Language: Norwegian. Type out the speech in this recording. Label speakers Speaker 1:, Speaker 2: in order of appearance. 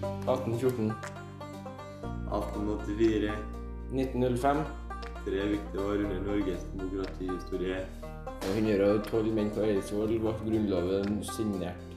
Speaker 1: 1814.
Speaker 2: 1884.
Speaker 1: 1905.
Speaker 2: Tre viktige år under Norges demokratihistorie.
Speaker 1: Og 112 menn på Eidsvoll ble grunnloven signert.